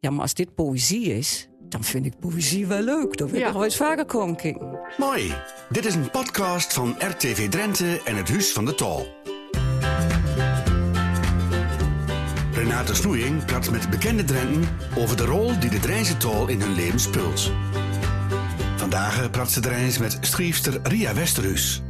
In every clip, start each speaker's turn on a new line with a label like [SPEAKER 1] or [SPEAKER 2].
[SPEAKER 1] Ja, maar als dit poëzie is, dan vind ik poëzie wel leuk. Dan wil ik
[SPEAKER 2] Ja.
[SPEAKER 1] nog wel eens vaker komen kijken.
[SPEAKER 3] Mooi. Dit is een podcast van RTV Drenthe en het Huis van de Tal. Renate Snoeing praat met bekende Drenten over de rol die de Drijnse Tal in hun leven speelt. Vandaag praat ze Drijns met schriefster Ria Westerhuis.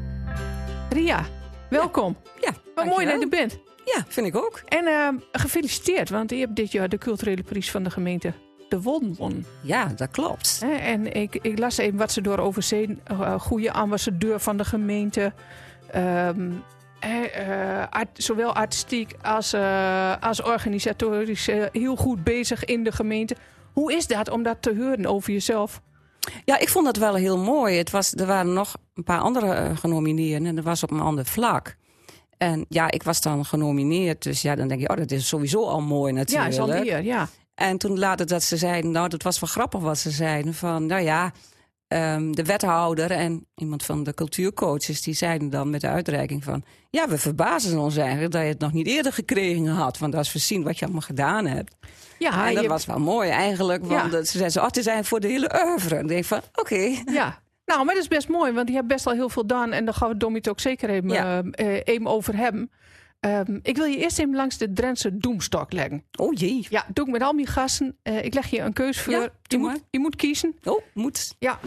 [SPEAKER 2] Ria, welkom.
[SPEAKER 1] Ja,
[SPEAKER 2] Wat mooi dat je er bent.
[SPEAKER 1] Ja, vind ik ook.
[SPEAKER 2] En ehm, gefeliciteerd, want je hebt dit jaar de culturele prijs van de gemeente De Won won.
[SPEAKER 1] Ja, dat klopt.
[SPEAKER 2] Hè, En ik, ik las even wat ze door overzee, eh, goede ambassadeur van de gemeente. ehm, hè, eh, art- zowel artistiek als, eh, als organisatorisch eh, heel goed bezig in de gemeente. Hoe is dat om dat te horen over jezelf?
[SPEAKER 1] Ja, ik vond dat wel heel mooi. Het was, er waren nog een paar andere eh, genomineerden en dat was op een ander vlak. En ja, ik was dan genomineerd, dus ja, dan denk je, oh, dat is sowieso al mooi
[SPEAKER 2] Ja,
[SPEAKER 1] natuurlijk.
[SPEAKER 2] is al hier, ja.
[SPEAKER 1] En toen later dat ze zeiden, nou, dat was wel grappig wat ze zeiden. Van, nou ja, ehm, de wethouder en iemand van de cultuurcoaches... die zeiden dan met de uitreiking van... ja, we verbazen ons eigenlijk dat je het nog niet eerder gekregen had. Want dat is voorzien wat je allemaal gedaan hebt.
[SPEAKER 2] Ja,
[SPEAKER 1] en Ah, dat
[SPEAKER 2] Ah, je-
[SPEAKER 1] was wel mooi eigenlijk.
[SPEAKER 2] Ja.
[SPEAKER 1] Want dat- ze zeiden, zo, oh, het is eigenlijk voor de hele oeuvre. En ik denk van, oké.
[SPEAKER 2] Ja. Nou, maar dat is best mooi, want je hebt best al heel veel gedaan. En daar gaan we Dommy het ook zeker even,
[SPEAKER 1] Ja.
[SPEAKER 2] eh, eh, even over hebben. Ehm, ik wil je eerst even langs de Drentse doemstok leggen.
[SPEAKER 1] Oh jee.
[SPEAKER 2] Ja, doe ik met al mijn gasten. Eh, ik leg je een keus voor.
[SPEAKER 1] Ja,
[SPEAKER 2] je,
[SPEAKER 1] doe
[SPEAKER 2] moet,
[SPEAKER 1] maar.
[SPEAKER 2] je moet kiezen.
[SPEAKER 1] Oh, moet.
[SPEAKER 2] Ja,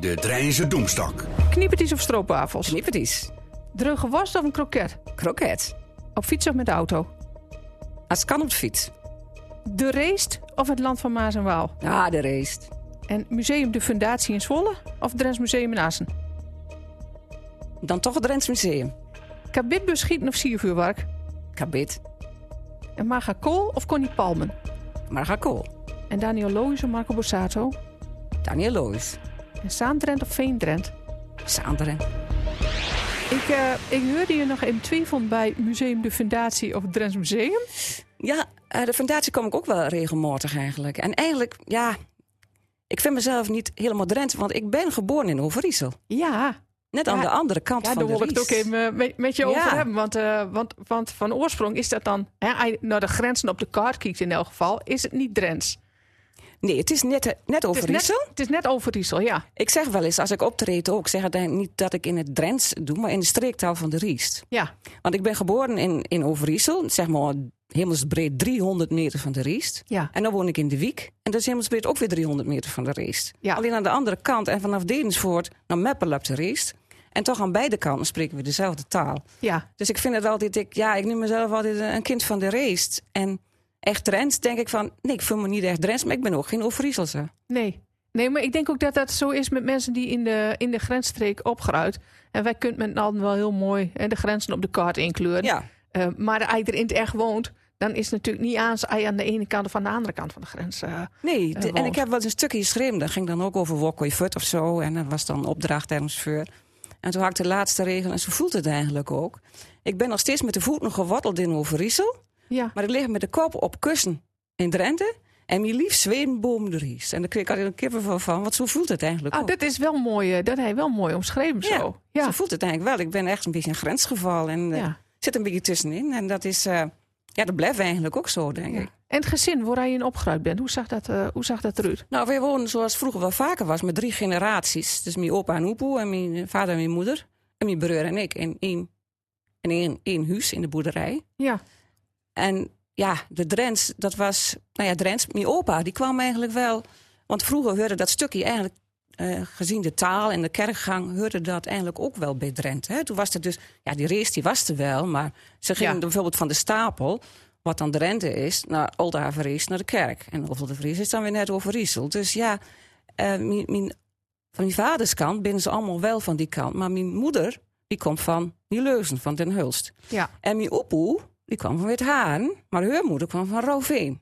[SPEAKER 3] De Drijnse Doemstak.
[SPEAKER 2] kniepertjes of stroopwafels?
[SPEAKER 1] Knippertjes.
[SPEAKER 2] Dreuge worst of een kroket?
[SPEAKER 1] Kroket.
[SPEAKER 2] Op fiets of met de auto?
[SPEAKER 1] Als het kan op de fiets.
[SPEAKER 2] De race of het land van Maas en Waal?
[SPEAKER 1] Ja, de race.
[SPEAKER 2] En Museum de Fundatie in Zwolle of Drents Museum in Assen?
[SPEAKER 1] Dan toch het Drents Museum.
[SPEAKER 2] Kabitbus schieten of siervuurwerk?
[SPEAKER 1] Kabit.
[SPEAKER 2] En Marga Kool of Connie Palmen?
[SPEAKER 1] Marga Kool.
[SPEAKER 2] En Daniel Loijs of Marco Borsato?
[SPEAKER 1] Daniel Loos.
[SPEAKER 2] En Saandrent of Veendrent?
[SPEAKER 1] Saanderen.
[SPEAKER 2] Ik, eh, ik hoorde je nog in twijfel bij Museum de Fundatie of het Drents Museum.
[SPEAKER 1] Ja, eh, de fundatie kom ik ook wel regelmatig eigenlijk. En eigenlijk, ja, ik vind mezelf niet helemaal Drenthe, want ik ben geboren in Overijssel.
[SPEAKER 2] Ja,
[SPEAKER 1] Net aan
[SPEAKER 2] Ja,
[SPEAKER 1] de andere kant
[SPEAKER 2] ja
[SPEAKER 1] van
[SPEAKER 2] daar
[SPEAKER 1] de
[SPEAKER 2] wil ik het
[SPEAKER 1] Ries.
[SPEAKER 2] ook even eh, met, met je
[SPEAKER 1] Ja.
[SPEAKER 2] over hebben. Want, eh, want, want van oorsprong is dat dan, hè, als je naar de grenzen op de kaart kijkt in elk geval, is het niet Drents.
[SPEAKER 1] Nee, het is net, eh, net
[SPEAKER 2] Het is
[SPEAKER 1] Overijssel.
[SPEAKER 2] net, het is net Overijssel, ja.
[SPEAKER 1] Ik zeg wel eens, als ik optreed ook, zeg ik niet dat ik in het Drents doe, maar in de streektaal van de Ries.
[SPEAKER 2] Ja,
[SPEAKER 1] Want ik ben geboren in, in Overijssel, zeg maar hemelsbreed 300 meter van de Riest.
[SPEAKER 2] ja.
[SPEAKER 1] En dan woon ik in de Wiek. En dat is hemelsbreed ook weer 300 meter van de Riest.
[SPEAKER 2] Ja.
[SPEAKER 1] Alleen aan de andere kant en vanaf Dedensvoort naar Meppel op de Riest. En toch aan beide kanten spreken we dezelfde taal.
[SPEAKER 2] ja.
[SPEAKER 1] Dus ik vind het altijd, ik, ja, ik noem mezelf altijd een kind van de Riest. En echt Drents denk ik van, nee, ik voel me niet echt Drents, maar ik ben ook geen Overijsselse.
[SPEAKER 2] Nee. Nee, maar ik denk ook dat dat zo is met mensen die in de, in de grensstreek opgroeit. En wij kunnen met allen wel heel mooi hè, de grenzen op de kaart inkleuren.
[SPEAKER 1] Ja,
[SPEAKER 2] Eh, maar als je er in het echt woont, dan is het natuurlijk niet aan als je aan de ene kant of aan de andere kant van de grens. eh,
[SPEAKER 1] nee. de- en
[SPEAKER 2] woont.
[SPEAKER 1] ik heb wel eens een stukje geschreven, dat ging dan ook over Wokkooi Fut of zo. En dat was dan opdracht ergens voor. En toen had ik de laatste regel, en zo voelt het eigenlijk ook. Ik ben nog steeds met de voeten geworteld in Overijssel.
[SPEAKER 2] ja.
[SPEAKER 1] Maar ik lig met de kop op kussen in Drenthe. En mijn lief zweemboom de Ries. En daar kreeg ik altijd een kippenvel van. Want zo voelt het eigenlijk
[SPEAKER 2] Ah,
[SPEAKER 1] ook.
[SPEAKER 2] dat is wel mooi. eh, dat hij wel mooi omschreven
[SPEAKER 1] Ja,
[SPEAKER 2] zo. Ja.
[SPEAKER 1] Zo voelt het eigenlijk wel. Ik ben echt een beetje een grensgeval. En eh,
[SPEAKER 2] ja.
[SPEAKER 1] zit een beetje tussenin. En dat is... eh, ja, dat blijft eigenlijk ook zo, denk
[SPEAKER 2] Ja.
[SPEAKER 1] ik.
[SPEAKER 2] En het gezin waar je in opgeruimd bent, hoe zag dat, eh, hoe zag dat eruit?
[SPEAKER 1] Nou, wij wonen zoals vroeger wel vaker was. Met drie generaties. Dus mijn opa en oepoe. En mijn vader en mijn moeder. En mijn broer en ik. In één, in één, één huis in de boerderij.
[SPEAKER 2] Ja,
[SPEAKER 1] En ja, de Drents, dat was... Nou ja, Drents, mijn opa, die kwam eigenlijk wel... Want vroeger hoorde dat stukje eigenlijk... eh, gezien de taal en de kerkgang hoorde dat eigenlijk ook wel bij Drenthe. Hè? Toen was het dus... Ja, die race die was er wel, maar ze gingen
[SPEAKER 2] Ja.
[SPEAKER 1] bijvoorbeeld van de stapel... wat dan Drenthe is, naar Oldenhavenries, naar de kerk. En Oldenhavenries is dan weer net over Riesel. Dus ja, eh, mijn, mijn- van mijn vaders kant binnen ze allemaal wel van die kant. Maar mijn moeder, die komt van Nieuwleuzen, van Den Hulst.
[SPEAKER 2] ja.
[SPEAKER 1] En mijn opoe, die kwam van Withaan, maar haar moeder kwam van Roveen.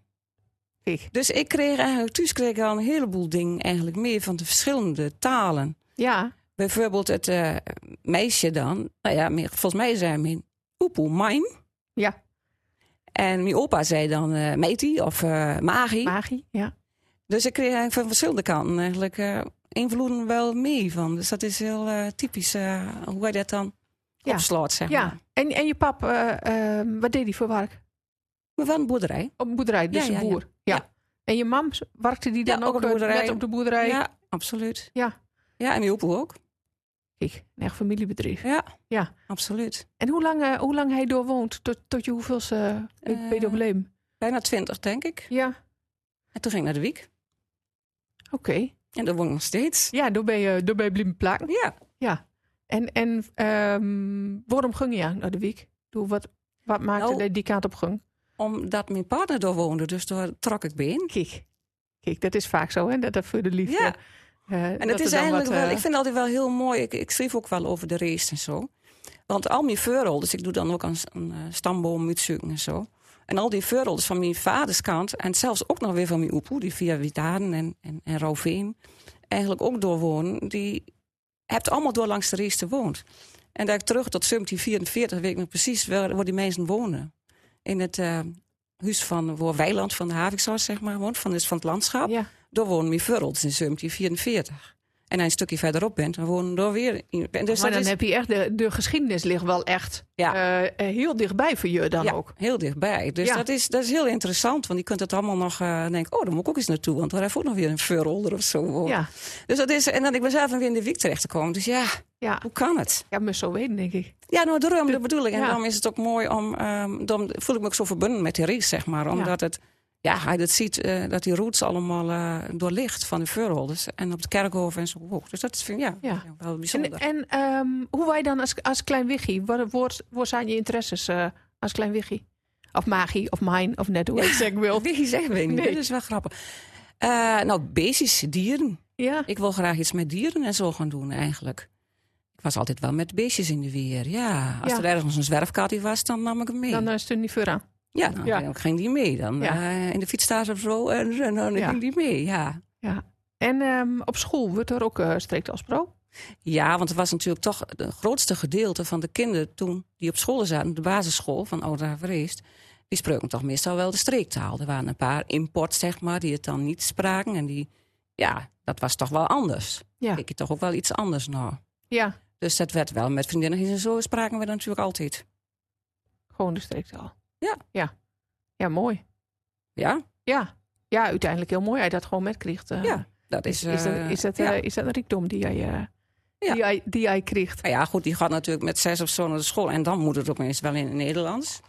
[SPEAKER 2] Ik.
[SPEAKER 1] Dus ik kreeg eigenlijk, thuis kreeg ik al een heleboel dingen eigenlijk mee van de verschillende talen.
[SPEAKER 2] Ja,
[SPEAKER 1] Bijvoorbeeld het eh, meisje dan, nou ja, me- volgens mij zei mijn opoe mijn.
[SPEAKER 2] ja.
[SPEAKER 1] En mijn opa zei dan eh meiti of eh magi.
[SPEAKER 2] Magie, ja.
[SPEAKER 1] Dus ik kreeg eigenlijk van verschillende kanten eigenlijk eh, invloeden wel mee van. Dus dat is heel eh, typisch eh, hoe hij dat dan
[SPEAKER 2] Ja.
[SPEAKER 1] opslaat, zeg maar.
[SPEAKER 2] Ja, en, en je pap, eh, eh, wat deed hij voor werk?
[SPEAKER 1] Maar van een boerderij.
[SPEAKER 2] Op een boerderij, dus
[SPEAKER 1] Ja, ja,
[SPEAKER 2] een
[SPEAKER 1] ja.
[SPEAKER 2] boer. Ja.
[SPEAKER 1] Ja.
[SPEAKER 2] En je mam werkte die dan
[SPEAKER 1] Ja,
[SPEAKER 2] ook,
[SPEAKER 1] ook op de
[SPEAKER 2] eh,
[SPEAKER 1] boerderij.
[SPEAKER 2] net op de boerderij?
[SPEAKER 1] Ja, absoluut.
[SPEAKER 2] Ja.
[SPEAKER 1] Ja, en Joepel ook.
[SPEAKER 2] Kijk, een echt familiebedrijf.
[SPEAKER 1] Ja.
[SPEAKER 2] Ja.
[SPEAKER 1] Absoluut.
[SPEAKER 2] En hoe lang, eh, hoe lang hij doorwoont? Tot, tot je hoeveelste uh,
[SPEAKER 1] Eh,
[SPEAKER 2] probleem?
[SPEAKER 1] Bijna twintig, denk ik.
[SPEAKER 2] Ja,
[SPEAKER 1] En toen ging ik naar de wiek.
[SPEAKER 2] oké.
[SPEAKER 1] En daar woon ik nog steeds.
[SPEAKER 2] Ja, door ben
[SPEAKER 1] eh,
[SPEAKER 2] je, door ben je blijven plakken.
[SPEAKER 1] Ja.
[SPEAKER 2] Ja. En, en ehm, waarom ging je eigenlijk naar de week? Doe, wat, wat maakte
[SPEAKER 1] Nou.
[SPEAKER 2] dat je die kaart op ging?
[SPEAKER 1] Omdat mijn partner daar woonde, dus daar trok ik been.
[SPEAKER 2] Kijk, kijk, dat is vaak zo, hè? Dat dat voor de liefde.
[SPEAKER 1] Ja.
[SPEAKER 2] eh,
[SPEAKER 1] En
[SPEAKER 2] dat
[SPEAKER 1] het
[SPEAKER 2] er
[SPEAKER 1] is
[SPEAKER 2] dan
[SPEAKER 1] eigenlijk
[SPEAKER 2] wat,
[SPEAKER 1] wel,
[SPEAKER 2] eh,
[SPEAKER 1] ik vind altijd wel heel mooi. Ik, ik schreef ook wel over de race en zo. Want al mijn veurrolders, ik doe dan ook aan s- een eh, stamboom uitzoeken en zo. En al die veurrolders van mijn vaders kant, en zelfs ook nog weer van mijn oepoe, die via Witaden en, en, en Roveen eigenlijk ook doorwonen, die hebt allemaal door langs de race gewoond. En daar ik terug tot 1744 weet ik nog precies waar, waar die mensen wonen. In het eh, huis van waar Weiland van de Havikshuis, zeg maar, woont, van, is van het landschap.
[SPEAKER 2] Ja,
[SPEAKER 1] Daar wonen mijn vurrels in 1744. En als je een stukje verderop bent, dan wonen daar weer... in- En Dus
[SPEAKER 2] maar
[SPEAKER 1] dat
[SPEAKER 2] dan
[SPEAKER 1] is
[SPEAKER 2] heb je echt, de, de geschiedenis ligt wel echt
[SPEAKER 1] Ja.
[SPEAKER 2] eh, eh, heel dichtbij voor je dan
[SPEAKER 1] ja,
[SPEAKER 2] ook.
[SPEAKER 1] heel dichtbij. Dus
[SPEAKER 2] Ja.
[SPEAKER 1] dat, is, dat is heel interessant, want je kunt het allemaal nog eh denken... oh, daar moet ik ook eens naartoe, want daar heeft ook nog weer een vurrolder of zo. wonen.
[SPEAKER 2] Ja,
[SPEAKER 1] Dus dat is, en dan ik ben zelf weer in de wiek terecht gekomen. Dus ja,
[SPEAKER 2] ja.
[SPEAKER 1] hoe kan het?
[SPEAKER 2] ja maar zo weten, denk ik.
[SPEAKER 1] Ja, nou, daarom, dat bedoel ik. En
[SPEAKER 2] ja.
[SPEAKER 1] daarom is het ook mooi om... ehm dan voel ik me ook zo verbonden met die race, zeg maar. Omdat het... Ja, hij dat ziet eh, dat die roots allemaal eh doorlicht van de vurrolders. En op de kerkhoven en zo ook. Dus dat vind ik ja,
[SPEAKER 2] Ja.
[SPEAKER 1] wel bijzonder.
[SPEAKER 2] En, en ehm, hoe wij dan als, als klein wiggie, wat, wat, wat zijn je interesses eh, als klein wiggie? Of magie, of mine, of net hoe ik zeggen wil.
[SPEAKER 1] Wiggy zeggen we niet.
[SPEAKER 2] Nee.
[SPEAKER 1] Dat is wel grappig. Eh, nou, beestjes, dieren.
[SPEAKER 2] Ja,
[SPEAKER 1] Ik wil graag iets met dieren en zo gaan doen eigenlijk. Ik was altijd wel met beestjes in de weer. Ja, als
[SPEAKER 2] Ja.
[SPEAKER 1] er ergens een zwerfkatje was, dan eh, nam ik hem mee.
[SPEAKER 2] dan is het niet voor aan.
[SPEAKER 1] ja, dan
[SPEAKER 2] ja.
[SPEAKER 1] ging die mee. Dan
[SPEAKER 2] Ja.
[SPEAKER 1] eh, in de fietsstaat of zo, en, en dan
[SPEAKER 2] Ja.
[SPEAKER 1] ging die mee, ja.
[SPEAKER 2] Ja. En ehm, op school wordt er ook eh strikt als pro.
[SPEAKER 1] Ja, want het was natuurlijk toch het grootste gedeelte van de kinderen toen die op school zaten, de basisschool van Ouder Vreest, die spraken toch meestal wel de streektaal. Er waren een paar imports, zeg maar, die het dan niet spraken. En die, ja, dat was toch wel anders.
[SPEAKER 2] Ja.
[SPEAKER 1] Ik toch ook wel iets anders nou.
[SPEAKER 2] Ja,
[SPEAKER 1] Dus dat werd wel met vriendinnen en zo spraken we dan natuurlijk altijd.
[SPEAKER 2] gewoon de streektaal.
[SPEAKER 1] Ja.
[SPEAKER 2] Ja, ja mooi.
[SPEAKER 1] Ja,
[SPEAKER 2] Ja. ja, uiteindelijk heel mooi. Hij dat gewoon met kreeg. eh.
[SPEAKER 1] Ja, dat
[SPEAKER 2] Is,
[SPEAKER 1] is.
[SPEAKER 2] is, dat,
[SPEAKER 1] eh,
[SPEAKER 2] is, dat,
[SPEAKER 1] ja.
[SPEAKER 2] eh, is dat een rijkdom die hij, eh,
[SPEAKER 1] Ja.
[SPEAKER 2] die hij, die hij kreeg?
[SPEAKER 1] Nou ja, goed, die gaat natuurlijk met zes of zo naar de school. En dan moet het ook eens wel in het Nederlands.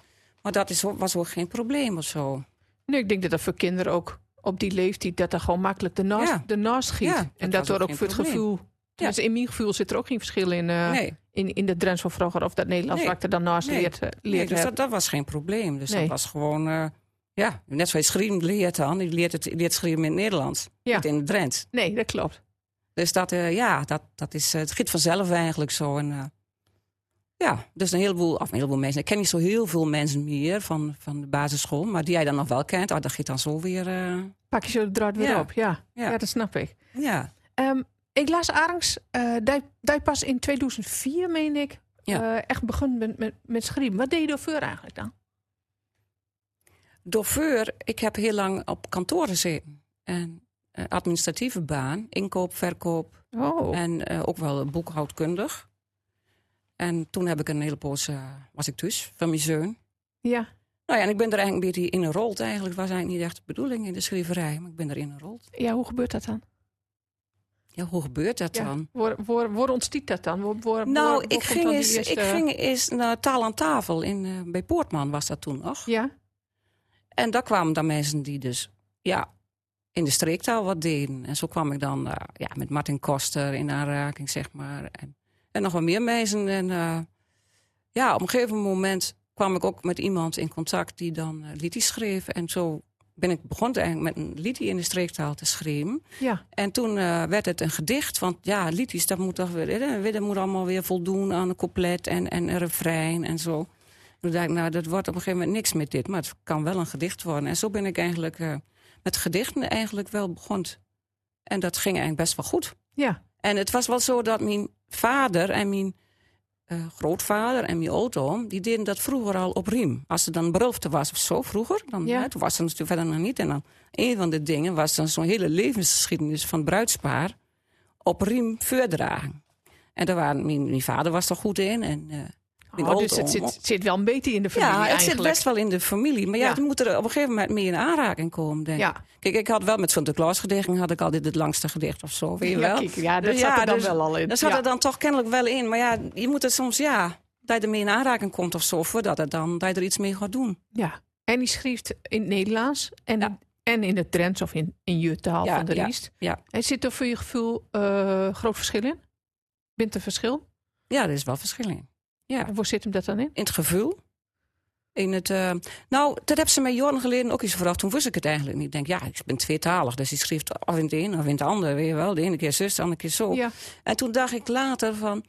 [SPEAKER 1] Maar dat is, ook- was ook geen probleem of zo.
[SPEAKER 2] Nee, ik denk dat dat voor kinderen ook op die leeftijd... dat er gewoon makkelijk de naast,
[SPEAKER 1] Ja.
[SPEAKER 2] de naast giet.
[SPEAKER 1] Ja, dat
[SPEAKER 2] en
[SPEAKER 1] was
[SPEAKER 2] dat er
[SPEAKER 1] ook
[SPEAKER 2] ook
[SPEAKER 1] geen
[SPEAKER 2] voor het
[SPEAKER 1] probleem.
[SPEAKER 2] gevoel... Dus in mijn gevoel zit er ook geen verschil in, eh,
[SPEAKER 1] nee.
[SPEAKER 2] in, in de Drents van vroeger... of dat Nederlands
[SPEAKER 1] Nee.
[SPEAKER 2] wat ik er dan naast
[SPEAKER 1] Nee.
[SPEAKER 2] leert, eh,
[SPEAKER 1] Nee,
[SPEAKER 2] leert
[SPEAKER 1] dus
[SPEAKER 2] heb.
[SPEAKER 1] dat, dat was geen probleem. Dus
[SPEAKER 2] Nee.
[SPEAKER 1] dat was gewoon, eh, ja, net zoals schreeuwen leert dan. Die leert, het, leert schreeuwen in het Nederlands,
[SPEAKER 2] Ja.
[SPEAKER 1] niet in het Drents.
[SPEAKER 2] Nee, dat klopt.
[SPEAKER 1] Dus dat, eh, ja, dat, dat is, eh, het giet vanzelf eigenlijk zo. En, eh, ja, dus een heleboel, of een heleboel mensen. Ik ken niet zo heel veel mensen meer van, van de basisschool. Maar die jij dan nog wel kent, ah, dat giet dan zo weer, eh,
[SPEAKER 2] Pak je zo de draad weer
[SPEAKER 1] Ja.
[SPEAKER 2] op, ja. ja.
[SPEAKER 1] Ja.
[SPEAKER 2] dat snap ik.
[SPEAKER 1] ja.
[SPEAKER 2] Ehm, ik las Arends, eh dat dat je pas in 2004, meen ik,
[SPEAKER 1] Ja.
[SPEAKER 2] eh, echt begonnen bent met, met schrijven. Wat deed je daarvoor eigenlijk dan?
[SPEAKER 1] Doveur, ik heb heel lang op kantoor gezeten. En eh, administratieve baan, inkoop, verkoop,
[SPEAKER 2] Oh,
[SPEAKER 1] En eh, ook wel boekhoudkundig. En toen heb ik een hele poos, eh, was ik thuis, van mijn zoon.
[SPEAKER 2] ja.
[SPEAKER 1] Nou ja, en ik ben er eigenlijk een beetje in gerold eigenlijk. was eigenlijk niet echt de bedoeling in de schrijverij, maar ik ben erin gerold.
[SPEAKER 2] ja, hoe gebeurt dat dan?
[SPEAKER 1] Ja, hoe gebeurt dat
[SPEAKER 2] Ja.
[SPEAKER 1] dan?
[SPEAKER 2] Waar, waar, waar ontstiet dat dan? Waar, waar, waar-
[SPEAKER 1] Nou,
[SPEAKER 2] waar
[SPEAKER 1] ik
[SPEAKER 2] komt
[SPEAKER 1] ging,
[SPEAKER 2] dan die
[SPEAKER 1] eens, ik
[SPEAKER 2] eerste-
[SPEAKER 1] ging eens naar Taal aan Tafel in, eh, bij Poortman was dat toen nog.
[SPEAKER 2] Ja,
[SPEAKER 1] En daar kwamen dan mensen die dus, ja, in de streektaal wat deden. En zo kwam ik dan eh, ja, met Martin Koster in aanraking, zeg maar. En, en nog wel meer mensen. En eh, ja, op een gegeven moment kwam ik ook met iemand in contact die dan eh, liedjes schreef. En zo ben ik begonnen eigenlijk met een liedje in de streektaal te schreeuwen.
[SPEAKER 2] ja,
[SPEAKER 1] En toen eh, werd het een gedicht, want ja, liedjes, dat moet toch weer, hè, dat moet allemaal weer voldoen aan een couplet en, en een refrein en zo. Toen dacht ik, nou, dat wordt op een gegeven moment niks met dit, maar het kan wel een gedicht worden. En zo ben ik eigenlijk eh, met gedichten eigenlijk wel begonnen. En dat ging eigenlijk best wel goed.
[SPEAKER 2] ja.
[SPEAKER 1] En het was wel zo dat mijn vader en mijn eh, grootvader en mijn oom... die deden dat vroeger al op riem. Als er dan belofte was of zo, vroeger. Dan,
[SPEAKER 2] Ja.
[SPEAKER 1] hè, toen was er natuurlijk verder nog niet. En dan een van de dingen was dan zo'n hele levensgeschiedenis van het bruidspaar... op riem voordragen. En daar waren, mijn, mijn vader was er goed in en... eh, In
[SPEAKER 2] Oh, dus het
[SPEAKER 1] Oldom.
[SPEAKER 2] zit, zit wel een beetje in de familie
[SPEAKER 1] Ja, het
[SPEAKER 2] eigenlijk.
[SPEAKER 1] zit best wel in de familie. Maar ja,
[SPEAKER 2] Ja.
[SPEAKER 1] je moet er op een gegeven moment mee in aanraking komen, denk ik.
[SPEAKER 2] Ja.
[SPEAKER 1] Kijk, ik had wel met Sinterklaasgedichten had ik altijd het langste gedicht of zo, weet je
[SPEAKER 2] Ja,
[SPEAKER 1] wel.
[SPEAKER 2] kijk, ja, dat
[SPEAKER 1] Dus
[SPEAKER 2] zat er dan
[SPEAKER 1] dus
[SPEAKER 2] wel al in.
[SPEAKER 1] Dat zat
[SPEAKER 2] Ja.
[SPEAKER 1] er dan toch kennelijk wel in. Maar ja, je moet er soms, ja, dat je ermee in aanraking komt of zo, voordat het dan, dat je er iets mee gaat doen.
[SPEAKER 2] Ja. En die schreef in het Nederlands en,
[SPEAKER 1] Ja.
[SPEAKER 2] in, en in de trends of in, in je taal
[SPEAKER 1] Ja,
[SPEAKER 2] van de
[SPEAKER 1] ja,
[SPEAKER 2] Riest.
[SPEAKER 1] ja.
[SPEAKER 2] En zit er voor je gevoel eh, groot verschil in? Bint er verschil?
[SPEAKER 1] Ja, er is wel verschil in. Ja.
[SPEAKER 2] En Waar zit hem dat dan in?
[SPEAKER 1] In het gevoel. In het, eh, nou, dat heb ze mij jaren geleden ook eens gevraagd. Toen wist ik het eigenlijk niet. Ik denk, ja, ik ben tweetalig. Dus ik schreef of in het een of in het ander. Weet je wel, de ene keer zus, de andere keer zo.
[SPEAKER 2] Ja.
[SPEAKER 1] En toen dacht ik later van,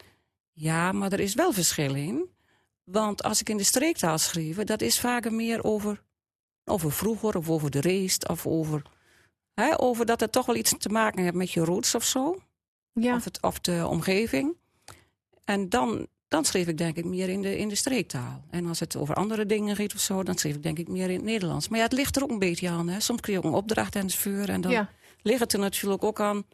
[SPEAKER 1] ja, maar er is wel verschil in. Want als ik in de streektaal schreef, dat is vaker meer over, over vroeger of over de race of over, hè, over dat het toch wel iets te maken heeft met je roots of zo.
[SPEAKER 2] Ja.
[SPEAKER 1] Of, het, of de omgeving. En dan, dan schreef ik denk ik meer in de, in de streektaal. En als het over andere dingen gaat of zo, dan schreef ik denk ik meer in het Nederlands. Maar ja, het ligt er ook een beetje aan. Hè. Soms krijg je ook een opdracht en het vuur en dan
[SPEAKER 2] ja.
[SPEAKER 1] ligt het er natuurlijk ook aan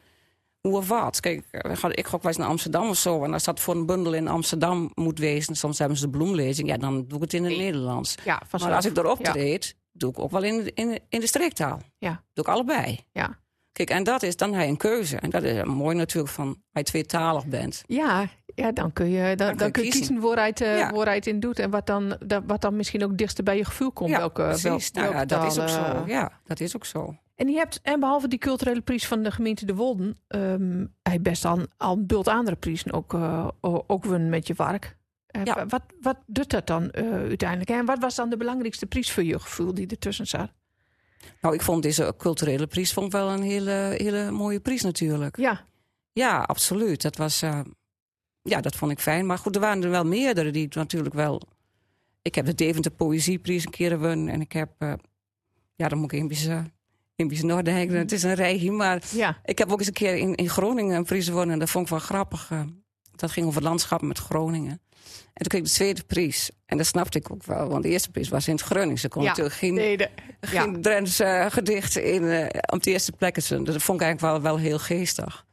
[SPEAKER 1] hoe of wat. Kijk, we gaan- ik ga ook wel eens naar Amsterdam of zo. En als dat voor een bundel in Amsterdam moet wezen, soms hebben ze de bloemlezing, ja, dan doe ik het in het
[SPEAKER 2] Nee.
[SPEAKER 1] Nederlands.
[SPEAKER 2] Ja, vanzelf.
[SPEAKER 1] Maar als ik erop
[SPEAKER 2] Ja.
[SPEAKER 1] treed, doe ik ook wel in, in, in de streektaal.
[SPEAKER 2] Ja.
[SPEAKER 1] Doe ik allebei.
[SPEAKER 2] Ja.
[SPEAKER 1] Kijk, en dat is dan hij een keuze. En dat is eh, mooi natuurlijk van als je tweetalig bent.
[SPEAKER 2] Ja, ja, dan kun je, dan, dan kun je kiezen, waaruit, eh,
[SPEAKER 1] Ja.
[SPEAKER 2] waaruit in doet. En wat dan, da- wat dan misschien ook dichtst bij je gevoel komt.
[SPEAKER 1] ja,
[SPEAKER 2] welke, wel-
[SPEAKER 1] precies. nou,
[SPEAKER 2] welke
[SPEAKER 1] ja, dat
[SPEAKER 2] taal,
[SPEAKER 1] is ook
[SPEAKER 2] eh,
[SPEAKER 1] zo. Ja, dat is ook zo.
[SPEAKER 2] En je hebt, en behalve die culturele prijs van de gemeente De Wolden, ehm hij best al, al een bult andere prijzen ook, eh, o- ook win met je werk. Eh,
[SPEAKER 1] Ja.
[SPEAKER 2] wa- wat, wat doet dat dan eh, uiteindelijk? En wat was dan de belangrijkste prijs voor je gevoel die ertussen zat?
[SPEAKER 1] Nou, ik vond deze culturele prijs vond ik wel een hele, hele mooie prijs natuurlijk.
[SPEAKER 2] Ja,
[SPEAKER 1] Ja, absoluut. Dat was. eh, ja, dat vond ik fijn. Maar goed, er waren er wel meerdere die het natuurlijk wel. Ik heb de Deventer Poëzieprijs een keer gewonnen. En ik heb. eh, ja, dan moet ik in uh, Imbies Noordijk. Het is een rijtje. Maar
[SPEAKER 2] ja,
[SPEAKER 1] ik heb ook eens een keer in, in Groningen een prijs gewonnen. En dat vond ik wel grappig. eh. dat ging over landschap met Groningen. En toen kreeg ik de tweede prijs. En dat snapte ik ook wel. Want de eerste prijs was in het Groningse. Kon
[SPEAKER 2] Ja,
[SPEAKER 1] natuurlijk geen,
[SPEAKER 2] nee, de-
[SPEAKER 1] geen
[SPEAKER 2] ja,
[SPEAKER 1] Drents eh, gedicht in, eh, op de eerste plek. is. Dat vond ik eigenlijk wel, wel heel geestig.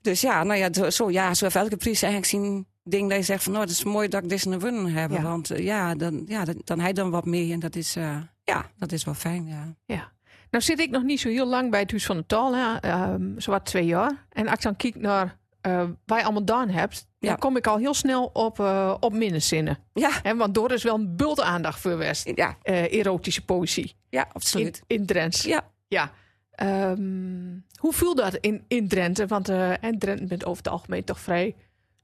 [SPEAKER 1] Dus ja, nou ja, zo- zo, ja, zo heeft elke prijs eigenlijk zien ding dat je zegt van, nou, dat is mooi dat ik dit een win heb.
[SPEAKER 2] Ja.
[SPEAKER 1] Want eh, ja, dan, ja, dan, dan hij dan wat mee en dat is, eh, ja, dat is wel fijn, ja.
[SPEAKER 2] ja. Nou zit ik nog niet zo heel lang bij het Huis van de Taal, hè, ehm, zowat twee jaar. En als ik dan kijk naar eh, wat je allemaal gedaan hebt,
[SPEAKER 1] Ja.
[SPEAKER 2] dan kom ik al heel snel op, eh op minneszinnen.
[SPEAKER 1] Ja,
[SPEAKER 2] Hè, want door is wel een bult aandacht voor West.
[SPEAKER 1] ja,
[SPEAKER 2] eh, erotische poëzie
[SPEAKER 1] ja
[SPEAKER 2] in,
[SPEAKER 1] absoluut.
[SPEAKER 2] in Drents.
[SPEAKER 1] ja.
[SPEAKER 2] Ja. Ehm, hoe viel dat in, in Drenthe? Want eh, en Drenthe bent over het algemeen toch vrij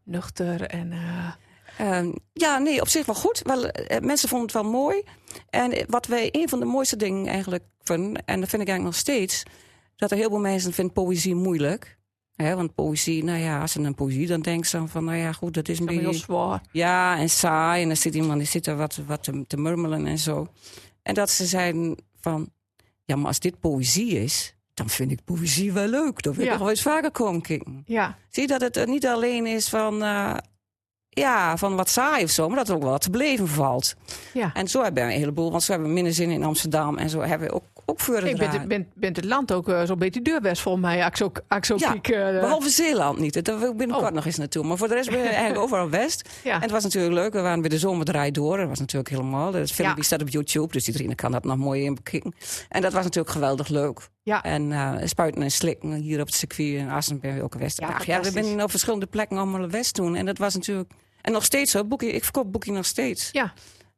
[SPEAKER 2] nuchter en eh,
[SPEAKER 1] Ehm, ja, nee, op zich wel goed. Wel, eh, mensen vonden het wel mooi. En eh, wat wij een van de mooiste dingen eigenlijk vinden, en dat vind ik eigenlijk nog steeds, dat er heel veel mensen vinden poëzie moeilijk. hè want poëzie, nou ja, als ze aan poëzie dan denken ze dan van, nou ja, goed, dat is een
[SPEAKER 2] heel
[SPEAKER 1] beetje...
[SPEAKER 2] zwaar.
[SPEAKER 1] Ja, en saai. En dan zit iemand die zit er wat, wat te, te murmelen en zo. En dat ze zeiden van, ja, maar als dit poëzie is, dan vind ik poëzie wel leuk. Dan wil ik
[SPEAKER 2] Ja.
[SPEAKER 1] nog wel eens vaker komen kijken.
[SPEAKER 2] Ja,
[SPEAKER 1] Zie je dat het er niet alleen is van, eh, ja, van wat saai of zo, maar dat er ook wel wat te beleven valt.
[SPEAKER 2] ja.
[SPEAKER 1] En zo hebben we een heleboel, want zo hebben we minder zin in Amsterdam en zo hebben we ook, ook voor
[SPEAKER 2] Ik ben, ben, ben het land ook eh, zo'n beetje deurwest volgens mij. Axo, Axo
[SPEAKER 1] Ja,
[SPEAKER 2] Piek, eh,
[SPEAKER 1] Behalve Zeeland niet. Daar wil ik binnenkort
[SPEAKER 2] Oh.
[SPEAKER 1] nog eens naartoe. Maar voor de rest ben je eigenlijk overal west.
[SPEAKER 2] Ja.
[SPEAKER 1] En het was natuurlijk leuk. We waren bij de zomerdraai door. Dat was natuurlijk helemaal. Dat filmpje
[SPEAKER 2] Ja.
[SPEAKER 1] staat op YouTube. Dus iedereen kan dat nog mooi in bekijken. En dat was natuurlijk geweldig leuk.
[SPEAKER 2] Ja.
[SPEAKER 1] En eh, spuiten en slikken hier op het circuit in Assen ben je ook een west.
[SPEAKER 2] Ja,
[SPEAKER 1] Ach ja, we
[SPEAKER 2] fantastisch.
[SPEAKER 1] zijn op verschillende plekken allemaal west toen. En dat was natuurlijk... En nog steeds hoor. Boekie, ik verkoop boekie nog steeds.
[SPEAKER 2] Ja,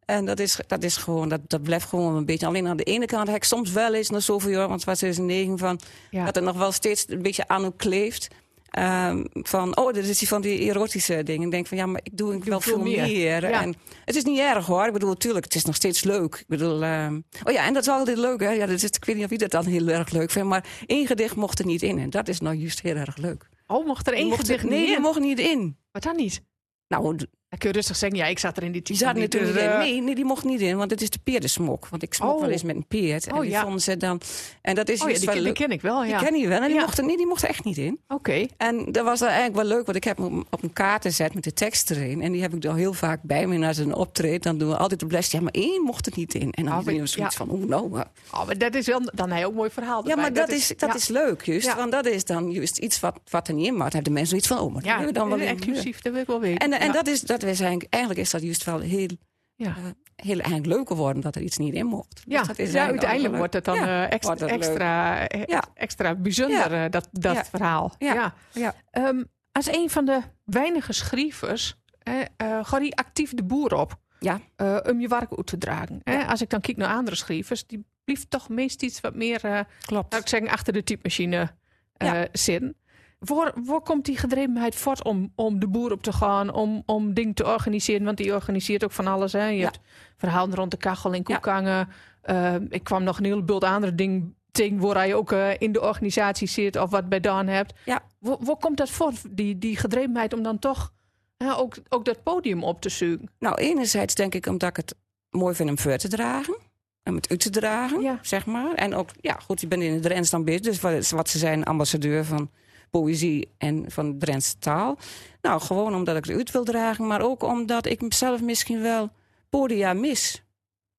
[SPEAKER 1] En dat is, dat is gewoon, dat, dat blijft gewoon een beetje. Alleen aan de ene kant heb ik soms wel eens na zoveel jaar, want het was 2009 van
[SPEAKER 2] Ja.
[SPEAKER 1] dat er nog wel steeds een beetje aan hoe kleeft. Ehm, van, oh, dit is die van die erotische dingen. Ik denk van, ja, maar ik doe, ik wel
[SPEAKER 2] veel
[SPEAKER 1] veel meer.
[SPEAKER 2] Ja.
[SPEAKER 1] En het is niet erg hoor. Ik bedoel, tuurlijk, het is nog steeds leuk. Ik bedoel, ehm, oh ja, en dat is altijd leuk. Hè? Ja, dat is, ik weet niet of wie dat dan heel erg leuk vindt. Maar één gedicht mocht er niet in. En dat is nou juist heel erg leuk.
[SPEAKER 2] oh, mocht er
[SPEAKER 1] Die
[SPEAKER 2] één
[SPEAKER 1] mocht er-
[SPEAKER 2] gedicht
[SPEAKER 1] Nee,
[SPEAKER 2] niet
[SPEAKER 1] die
[SPEAKER 2] in?
[SPEAKER 1] mocht niet in.
[SPEAKER 2] Wat dan niet?
[SPEAKER 1] Nou,
[SPEAKER 2] Dan kun je rustig zeggen, ja, ik zat er in die
[SPEAKER 1] Die
[SPEAKER 2] tien.
[SPEAKER 1] zat
[SPEAKER 2] niet,
[SPEAKER 1] natuurlijk
[SPEAKER 2] dus,
[SPEAKER 1] niet in.
[SPEAKER 2] eh,
[SPEAKER 1] Nee, nee, die mocht niet in, want het is de peerdensmok. Want ik smok
[SPEAKER 2] Oh.
[SPEAKER 1] wel eens met een peerd. En
[SPEAKER 2] Oh,
[SPEAKER 1] die
[SPEAKER 2] ja.
[SPEAKER 1] vonden ze dan... En dat is
[SPEAKER 2] Oh ja,
[SPEAKER 1] juist
[SPEAKER 2] die,
[SPEAKER 1] wel
[SPEAKER 2] ken- die
[SPEAKER 1] leuk.
[SPEAKER 2] ken ik wel,
[SPEAKER 1] Die
[SPEAKER 2] ja.
[SPEAKER 1] ken je wel. En die,
[SPEAKER 2] Ja.
[SPEAKER 1] mocht er, niet, die mocht er echt niet in.
[SPEAKER 2] Oké,
[SPEAKER 1] En dat was dan eigenlijk wel leuk, want ik heb hem op een kaart gezet met de tekst erin. En die heb ik dan heel vaak bij me naar zijn optreden. Dan doen we altijd de blest. Ja, maar één mocht het niet in. En dan
[SPEAKER 2] Oh,
[SPEAKER 1] iedereen
[SPEAKER 2] maar-
[SPEAKER 1] was zoiets
[SPEAKER 2] ja.
[SPEAKER 1] van, oh nou. maar-
[SPEAKER 2] oh, maar dat is wel dan hij ook een mooi verhaal.
[SPEAKER 1] Ja,
[SPEAKER 2] erbij.
[SPEAKER 1] maar dat, is, dat
[SPEAKER 2] ja.
[SPEAKER 1] is leuk, juist.
[SPEAKER 2] Ja.
[SPEAKER 1] Want dat is dan juist iets wat, wat er niet in mag. Dan hebben de mensen zoiets van, oh, maar dat
[SPEAKER 2] Ja,
[SPEAKER 1] hebben we dan wel in.
[SPEAKER 2] inclusief, dat wil ik wel weten.
[SPEAKER 1] En, en
[SPEAKER 2] Ja.
[SPEAKER 1] dat, is, dat, dat is eigenlijk, eigenlijk is dat juist wel heel,
[SPEAKER 2] Ja.
[SPEAKER 1] eh, heel eigenlijk leuk geworden dat er iets niet in mocht.
[SPEAKER 2] Ja,
[SPEAKER 1] Dus dat is
[SPEAKER 2] ja
[SPEAKER 1] eigenlijk ook wel
[SPEAKER 2] uiteindelijk
[SPEAKER 1] leuk.
[SPEAKER 2] wordt het dan
[SPEAKER 1] Ja,
[SPEAKER 2] eh, ex-
[SPEAKER 1] wordt het leuk.
[SPEAKER 2] extra, eh,
[SPEAKER 1] Ja.
[SPEAKER 2] extra bijzonder, eh, dat, dat
[SPEAKER 1] Ja.
[SPEAKER 2] verhaal.
[SPEAKER 1] Ja. Ja.
[SPEAKER 2] Ehm, als een van de weinige schrijvers hè, eh, gaat hij actief de boer op
[SPEAKER 1] Ja.
[SPEAKER 2] eh, om je werk uit te dragen. Hè? Als ik dan kijk naar andere schrijvers, die blijft toch meest iets wat meer, eh
[SPEAKER 1] klopt.
[SPEAKER 2] zou ik zeggen, achter de typemachine eh
[SPEAKER 1] Ja.
[SPEAKER 2] zin. Waar, waar komt die gedrevenheid voort om, om de boer op te gaan, om, om dingen te organiseren? Want die organiseert ook van alles. Hè? Je
[SPEAKER 1] Ja.
[SPEAKER 2] hebt verhalen rond de kachel in Koekangen. Eh, ik kwam nog een heleboel andere dingen tegen waar je ook eh, in de organisatie zit of wat bij Daan hebt.
[SPEAKER 1] Ja.
[SPEAKER 2] Waar, waar komt dat voort, die, die gedrevenheid om dan toch hè, ook, ook dat podium op te zoeken?
[SPEAKER 1] Nou, enerzijds denk ik omdat ik het mooi vind om voor te dragen. Om het uit te dragen,
[SPEAKER 2] Ja.
[SPEAKER 1] zeg maar. En ook, ja, goed, je bent in de Drents dan bezig. Dus wat, wat ze zijn, ambassadeur van poëzie en van Drentse taal. Nou, gewoon omdat ik het uit wil dragen. Maar ook omdat ik zelf misschien wel podia mis.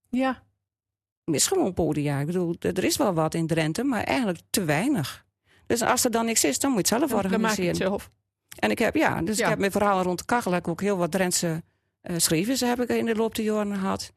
[SPEAKER 2] Ja,
[SPEAKER 1] Mis gewoon podia. Ik bedoel, d- er is wel wat in Drenthe, maar eigenlijk te weinig. Dus als er dan niks is, dan moet je het zelf
[SPEAKER 2] dan maak je het
[SPEAKER 1] organiseren.
[SPEAKER 2] zelf.
[SPEAKER 1] En ik heb, ja, dus
[SPEAKER 2] Ja.
[SPEAKER 1] ik heb mijn verhalen rond de kachel heb ik ook heel wat Drentse eh schrijvers heb ik in de loop der jaren gehad.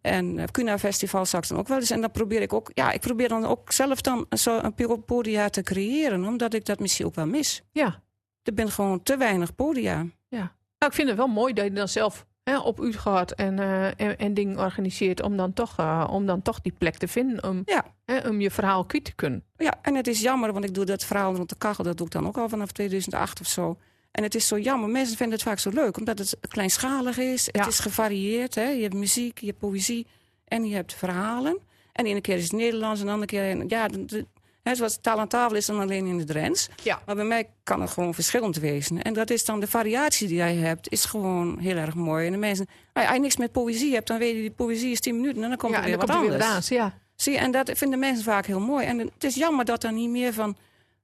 [SPEAKER 1] En eh Cuna Festival zag ik dan ook wel eens. En dan probeer ik ook, ja, ik probeer dan ook zelf dan zo een po- podia te creëren, omdat ik dat misschien ook wel mis.
[SPEAKER 2] Ja.
[SPEAKER 1] Er zijn gewoon te weinig podia.
[SPEAKER 2] Nou, ik vind het wel mooi dat je dan zelf hè, op u gaat en, eh, en, en dingen organiseert om dan, toch, eh, om dan toch die plek te vinden om,
[SPEAKER 1] Ja.
[SPEAKER 2] hè, om je verhaal kwijt te kunnen.
[SPEAKER 1] Ja, en het is jammer, want ik doe dat verhaal rond de kachel, dat doe ik dan ook al vanaf 2008 of zo. En het is zo jammer, mensen vinden het vaak zo leuk, omdat het kleinschalig is.
[SPEAKER 2] Ja.
[SPEAKER 1] Het is gevarieerd, hè? je hebt muziek, je hebt poëzie en je hebt verhalen. En de ene keer is het Nederlands en de andere keer... Ja, de, de- hè, zoals taal aan tafel is dan alleen in het Drents.
[SPEAKER 2] Ja.
[SPEAKER 1] Maar bij mij kan het gewoon verschillend wezen. En dat is dan de variatie die jij hebt, is gewoon heel erg mooi. En de mensen, als je niks met poëzie hebt, dan weet je, die poëzie is 10 minuten en dan komt
[SPEAKER 2] ja,
[SPEAKER 1] er
[SPEAKER 2] en
[SPEAKER 1] weer
[SPEAKER 2] dan
[SPEAKER 1] wat
[SPEAKER 2] komt er weer
[SPEAKER 1] anders.
[SPEAKER 2] wat aan. Ja.
[SPEAKER 1] Zie je, en dat vinden mensen vaak heel mooi. En het is jammer dat er niet meer van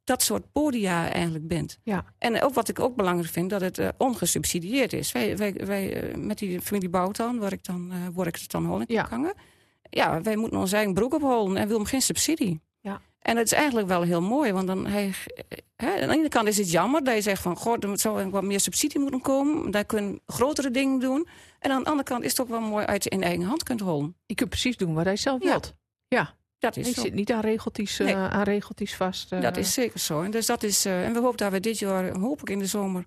[SPEAKER 1] dat soort podia eigenlijk bent.
[SPEAKER 2] Ja.
[SPEAKER 1] En ook wat ik ook belangrijk vind, dat het eh, ongesubsidieerd is. Wij, wij, wij eh, met die familie Bouwtan, waar ik dan, eh waar ik het dan hol in
[SPEAKER 2] Ja.
[SPEAKER 1] kan hangen. Ja, wij moeten ons eigen broek opholen en wil hem geen subsidie.
[SPEAKER 2] Ja.
[SPEAKER 1] En dat is eigenlijk wel heel mooi, want dan hij, hè, aan de ene kant is het jammer dat je zegt van, goh, er zou wat meer subsidie moeten komen. Daar kunnen grotere dingen doen. En aan de andere kant is het ook wel mooi uit je in eigen hand kunt holen.
[SPEAKER 2] Je kunt precies doen wat hij zelf
[SPEAKER 1] Ja,
[SPEAKER 2] wilt.
[SPEAKER 1] Dat
[SPEAKER 2] Je
[SPEAKER 1] is zo.
[SPEAKER 2] zit niet aan regeltjes, eh,
[SPEAKER 1] Nee.
[SPEAKER 2] aan regeltjes vast. eh.
[SPEAKER 1] Dat is zeker zo. En, dus dat is, eh, en we hopen dat we dit jaar, hoop ik in de zomer,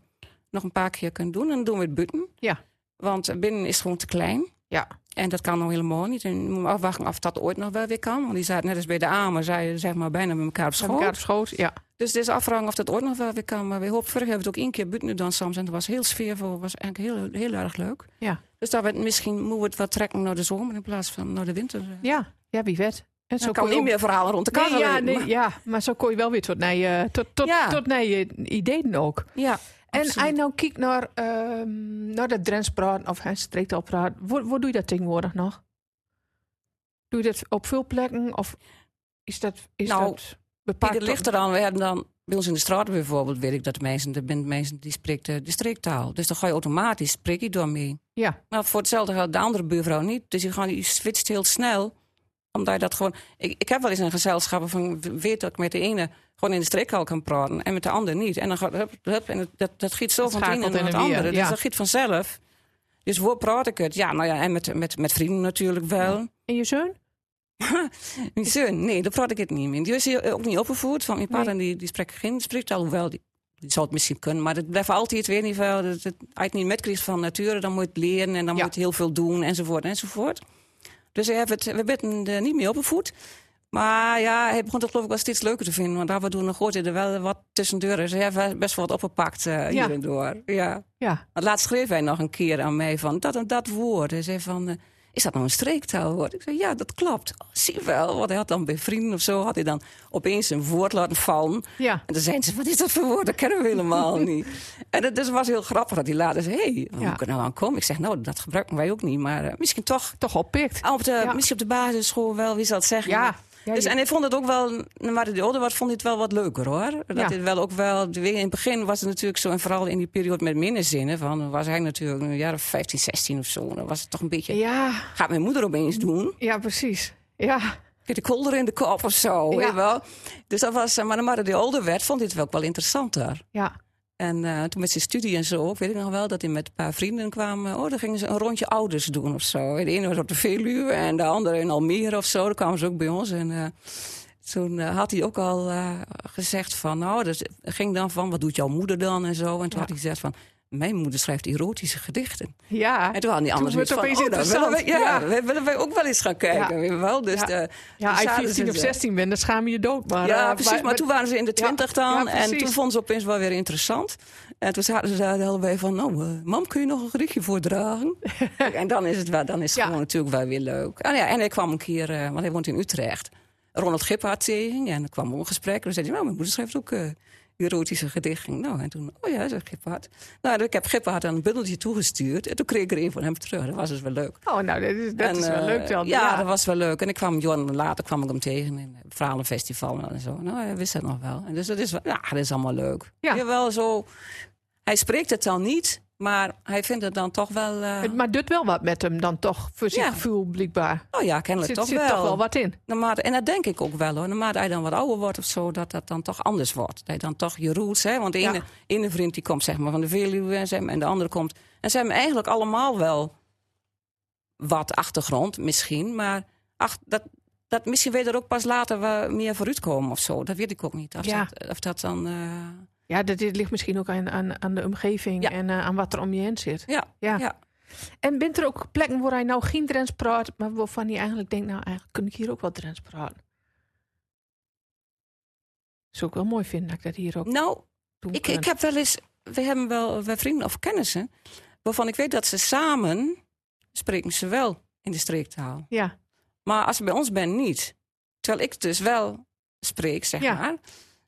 [SPEAKER 1] nog een paar keer kunnen doen. En dan doen we het buiten.
[SPEAKER 2] Ja.
[SPEAKER 1] Want eh, binnen is gewoon te klein.
[SPEAKER 2] Ja.
[SPEAKER 1] En dat kan nog helemaal niet. En we moeten afwachten of dat ooit nog wel weer kan. Want die zaten net als bij de Amer, zeiden zeg maar bijna met elkaar op
[SPEAKER 2] Aan
[SPEAKER 1] school.
[SPEAKER 2] elkaar op schoot. Ja.
[SPEAKER 1] Dus het is afhangen of dat ooit nog wel weer kan. Maar we hopen, vorig jaar hebben we het ook één keer buiten gedaan soms. En dat was heel sfeervol. was eigenlijk heel, heel erg leuk.
[SPEAKER 2] Ja.
[SPEAKER 1] Dus dat we het misschien moeten we het wat trekken naar de zomer in plaats van naar de winter. eh.
[SPEAKER 2] Ja. ja, wie weet. En zo
[SPEAKER 1] Dan kan
[SPEAKER 2] kon je
[SPEAKER 1] niet
[SPEAKER 2] ook-
[SPEAKER 1] meer verhalen rond de
[SPEAKER 2] Nee,
[SPEAKER 1] kachel.
[SPEAKER 2] ja,
[SPEAKER 1] in.
[SPEAKER 2] nee, ja, maar zo kon je wel weer tot naar je, tot, tot,
[SPEAKER 1] Ja.
[SPEAKER 2] tot naar je ideeën ook.
[SPEAKER 1] ja.
[SPEAKER 2] En
[SPEAKER 1] Absoluut.
[SPEAKER 2] hij nou kijkt naar, ehm, naar dat Drents praten of hij streekt al praten. Wat doe je dat tegenwoordig nog? Doe je dat op veel plekken of is dat, is
[SPEAKER 1] Nou,
[SPEAKER 2] dat bepaald?
[SPEAKER 1] Ieder ligt er dan. We hebben dan bij ons in de straat bijvoorbeeld, weet ik dat mensen, er zijn mensen die spreekt eh, de streektaal. Dus dan ga je automatisch, spreek je door mee.
[SPEAKER 2] Ja,
[SPEAKER 1] Maar voor hetzelfde geldt de andere buurvrouw niet. Dus je, gaat, je switcht heel snel. Omdat je dat gewoon... Ik, ik heb wel eens een gezelschap van weet dat ik met de ene gewoon in de streektaal kan praten en met de ander niet. En dan gaat hup, hup, en het- dat, dat giet zo
[SPEAKER 2] Dat
[SPEAKER 1] van het ene naar
[SPEAKER 2] schakelt
[SPEAKER 1] het
[SPEAKER 2] in en weer,
[SPEAKER 1] andere.
[SPEAKER 2] ja.
[SPEAKER 1] Dus dat giet vanzelf. Dus hoe praat ik het? Ja, nou ja, en met, met, met vrienden natuurlijk wel.
[SPEAKER 2] en je zoon?
[SPEAKER 1] Mijn zoon, nee, dat praat ik het niet meer. Die is hier ook niet opgevoed. Want mijn partner die, die spreekt geen spreektaal, hoewel die, die zou het misschien kunnen. Maar dat blijft altijd weer niet veel. Dat, dat, als je het niet metkrijgt van nature, dan moet je het leren en dan
[SPEAKER 2] Ja.
[SPEAKER 1] moet je heel veel doen enzovoort enzovoort. Dus hij heeft het, we hebben er niet mee opgevoed. Maar ja, hij begon het geloof ik wel steeds leuker te vinden. Want daar we doen nog goed er wel wat tussendoor. Dus hij heeft best wel wat opgepakt eh
[SPEAKER 2] Ja.
[SPEAKER 1] hier en door. Ja.
[SPEAKER 2] Ja,
[SPEAKER 1] Want laatst schreef hij nog een keer aan mij van dat en dat woord. Hij zei van, eh, is dat nou een streektaalwoord? Ik zei, ja, dat klopt. Oh, zie je wel, want hij had dan bij vrienden of zo... had hij dan opeens een woord laten vallen.
[SPEAKER 2] ja.
[SPEAKER 1] En dan zeiden ze, wat is dat voor woord? Dat kennen we helemaal niet. En het dus was heel grappig dat hij later zei... hé, hey, hoe
[SPEAKER 2] Ja.
[SPEAKER 1] moet ik er nou aan komen? Ik zeg, nou, dat gebruiken wij ook niet. Maar eh, misschien toch,
[SPEAKER 2] Toch oppikt.
[SPEAKER 1] Ah, op de,
[SPEAKER 2] Ja.
[SPEAKER 1] misschien op de basisschool wel, wie zal het zeggen?
[SPEAKER 2] Ja. ja
[SPEAKER 1] Dus,
[SPEAKER 2] je-
[SPEAKER 1] en hij vond het ook wel, maar de oude wat vond dit wel wat leuker hoor. Dat
[SPEAKER 2] Ja.
[SPEAKER 1] dit wel ook wel, in het begin was het natuurlijk zo, en vooral in die periode met minderzinnen, van was hij natuurlijk een jaar of 15, 16 of zo. Dan was het toch een beetje,
[SPEAKER 2] ja,
[SPEAKER 1] gaat mijn moeder opeens doen?
[SPEAKER 2] ja, precies. Ja,
[SPEAKER 1] Kijk, de kolder in de kop of zo.
[SPEAKER 2] Ja.
[SPEAKER 1] weet je wel. Dus dat was, eh, maar naarmate de ouder werd, vond dit wel ook wel interessanter.
[SPEAKER 2] ja.
[SPEAKER 1] En eh, toen met zijn studie en zo, ik weet ik nog wel dat hij met een paar vrienden kwam. eh, Oh, dan gingen ze een rondje ouders doen of zo. De ene was op de Veluwe en de andere in Almere of zo. Dan kwamen ze ook bij ons. En eh, toen eh, had hij ook al eh, gezegd van, nou, dat ging dan van, wat doet jouw moeder dan en zo. En toen
[SPEAKER 2] Ja.
[SPEAKER 1] had hij gezegd van, mijn moeder schrijft erotische gedichten.
[SPEAKER 2] Ja,
[SPEAKER 1] En toen hadden die
[SPEAKER 2] Toen
[SPEAKER 1] anderen
[SPEAKER 2] werd
[SPEAKER 1] zoiets van,
[SPEAKER 2] het
[SPEAKER 1] oh,
[SPEAKER 2] opeens
[SPEAKER 1] daar willen wij, ja,
[SPEAKER 2] interessant.
[SPEAKER 1] wij- willen wij ook wel eens gaan kijken.
[SPEAKER 2] Ja.
[SPEAKER 1] weet je Wel? Dus
[SPEAKER 2] Ja.
[SPEAKER 1] de-
[SPEAKER 2] ja als
[SPEAKER 1] toen
[SPEAKER 2] je
[SPEAKER 1] zaten
[SPEAKER 2] 14
[SPEAKER 1] ze
[SPEAKER 2] of
[SPEAKER 1] er.
[SPEAKER 2] 16 bent, dan schaam je je dood. Maar,
[SPEAKER 1] ja,
[SPEAKER 2] eh,
[SPEAKER 1] precies. Maar, toen waren ze in de
[SPEAKER 2] Ja,
[SPEAKER 1] twintig dan.
[SPEAKER 2] ja,
[SPEAKER 1] en
[SPEAKER 2] precies.
[SPEAKER 1] toen vonden ze opeens wel weer interessant. En toen zaten ze daar de hele week van... Nou, eh, mam, kun je nog een gedichtje voordragen? en dan is het, wel, dan is het
[SPEAKER 2] Ja.
[SPEAKER 1] gewoon natuurlijk wel weer leuk. En, ja, en hij kwam een keer... eh, want hij woont in Utrecht. Ronald Gippard tegen. En er kwam ook een gesprek. En zei hij... Nou, mijn moeder schrijft ook... eh, erotische gedichten. Nou, en toen, oh ja, zei Gippard. Nou, ik heb Gippard een bundeltje toegestuurd. En toen kreeg ik er een van hem terug. Dat was dus wel leuk.
[SPEAKER 2] Oh, nou, dat is, dat
[SPEAKER 1] En,
[SPEAKER 2] is wel
[SPEAKER 1] eh,
[SPEAKER 2] leuk dan.
[SPEAKER 1] Ja, dat was wel leuk. En ik kwam Johan later kwam ik hem tegen in het verhalenfestival en zo. Nou, hij wist dat nog wel. En dus dat is, wel- ja, dat is allemaal leuk.
[SPEAKER 2] Ja.
[SPEAKER 1] Jawel, zo. Hij spreekt het dan niet, maar hij vindt het dan toch wel. eh,
[SPEAKER 2] Het- maar doet wel wat met hem dan toch, voor zijn
[SPEAKER 1] Ja.
[SPEAKER 2] gevoel blijkbaar.
[SPEAKER 1] oh ja,
[SPEAKER 2] Er
[SPEAKER 1] kennelijk
[SPEAKER 2] zit,
[SPEAKER 1] toch,
[SPEAKER 2] zit
[SPEAKER 1] wel.
[SPEAKER 2] toch wel wat in.
[SPEAKER 1] Naarmate- en dat denk ik ook wel hoor. Naarmate hij dan wat ouder wordt of zo, dat dat dan toch anders wordt. Dat hij dan toch je roots, hè? Want de
[SPEAKER 2] Ja.
[SPEAKER 1] ene, ene vriend die komt zeg maar van de Veluwe en, ze hebben- en de andere komt. En ze hebben eigenlijk allemaal wel wat achtergrond misschien. Maar ach, dat, dat, misschien weet er ook pas later wel meer vooruit komen of zo. Dat weet ik ook niet. Of,
[SPEAKER 2] Ja.
[SPEAKER 1] dat, of dat dan. eh,
[SPEAKER 2] Ja, dat, dit ligt misschien ook aan, aan, aan de omgeving
[SPEAKER 1] Ja.
[SPEAKER 2] en eh, aan wat er om je heen zit.
[SPEAKER 1] ja,
[SPEAKER 2] Ja.
[SPEAKER 1] ja.
[SPEAKER 2] En bent er ook plekken waar hij nou geen Drents praat, maar waarvan hij eigenlijk denkt, nou eigenlijk kun ik hier ook wel Drents praten? Zou ik wel mooi vinden dat ik dat hier ook
[SPEAKER 1] Nou,
[SPEAKER 2] doen
[SPEAKER 1] Ik,
[SPEAKER 2] kan.
[SPEAKER 1] ik heb wel eens, we hebben wel wij vrienden of kennissen, waarvan ik weet dat ze samen spreken ze wel in de streektaal.
[SPEAKER 2] Ja,
[SPEAKER 1] Maar als je bij ons bent, niet. Terwijl ik dus wel spreek, zeg
[SPEAKER 2] Ja.
[SPEAKER 1] maar.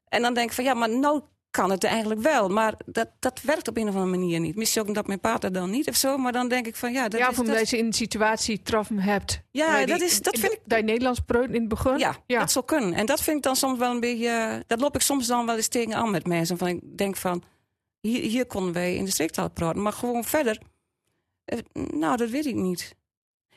[SPEAKER 1] En dan denk ik van, ja, maar nou kan het eigenlijk wel. Maar dat, dat werkt op een of andere manier niet. Misschien ook dat mijn partner dan niet of zo. Maar dan denk ik van, ja, dat
[SPEAKER 2] ja
[SPEAKER 1] is...
[SPEAKER 2] of omdat
[SPEAKER 1] dat-
[SPEAKER 2] je in de situatie traf hem hebt.
[SPEAKER 1] Ja,
[SPEAKER 2] Waar je
[SPEAKER 1] dat
[SPEAKER 2] die-
[SPEAKER 1] is- dat
[SPEAKER 2] in-
[SPEAKER 1] vind ik-
[SPEAKER 2] Dat je Nederlands preut in het begin.
[SPEAKER 1] Ja, dat zou kunnen. En dat vind ik dan soms wel een beetje. eh, Dat loop ik soms dan wel eens tegen aan met mensen. Van ik denk van. Hier, hier konden wij in de streektaal praten. Maar gewoon verder. eh, nou, dat weet ik niet.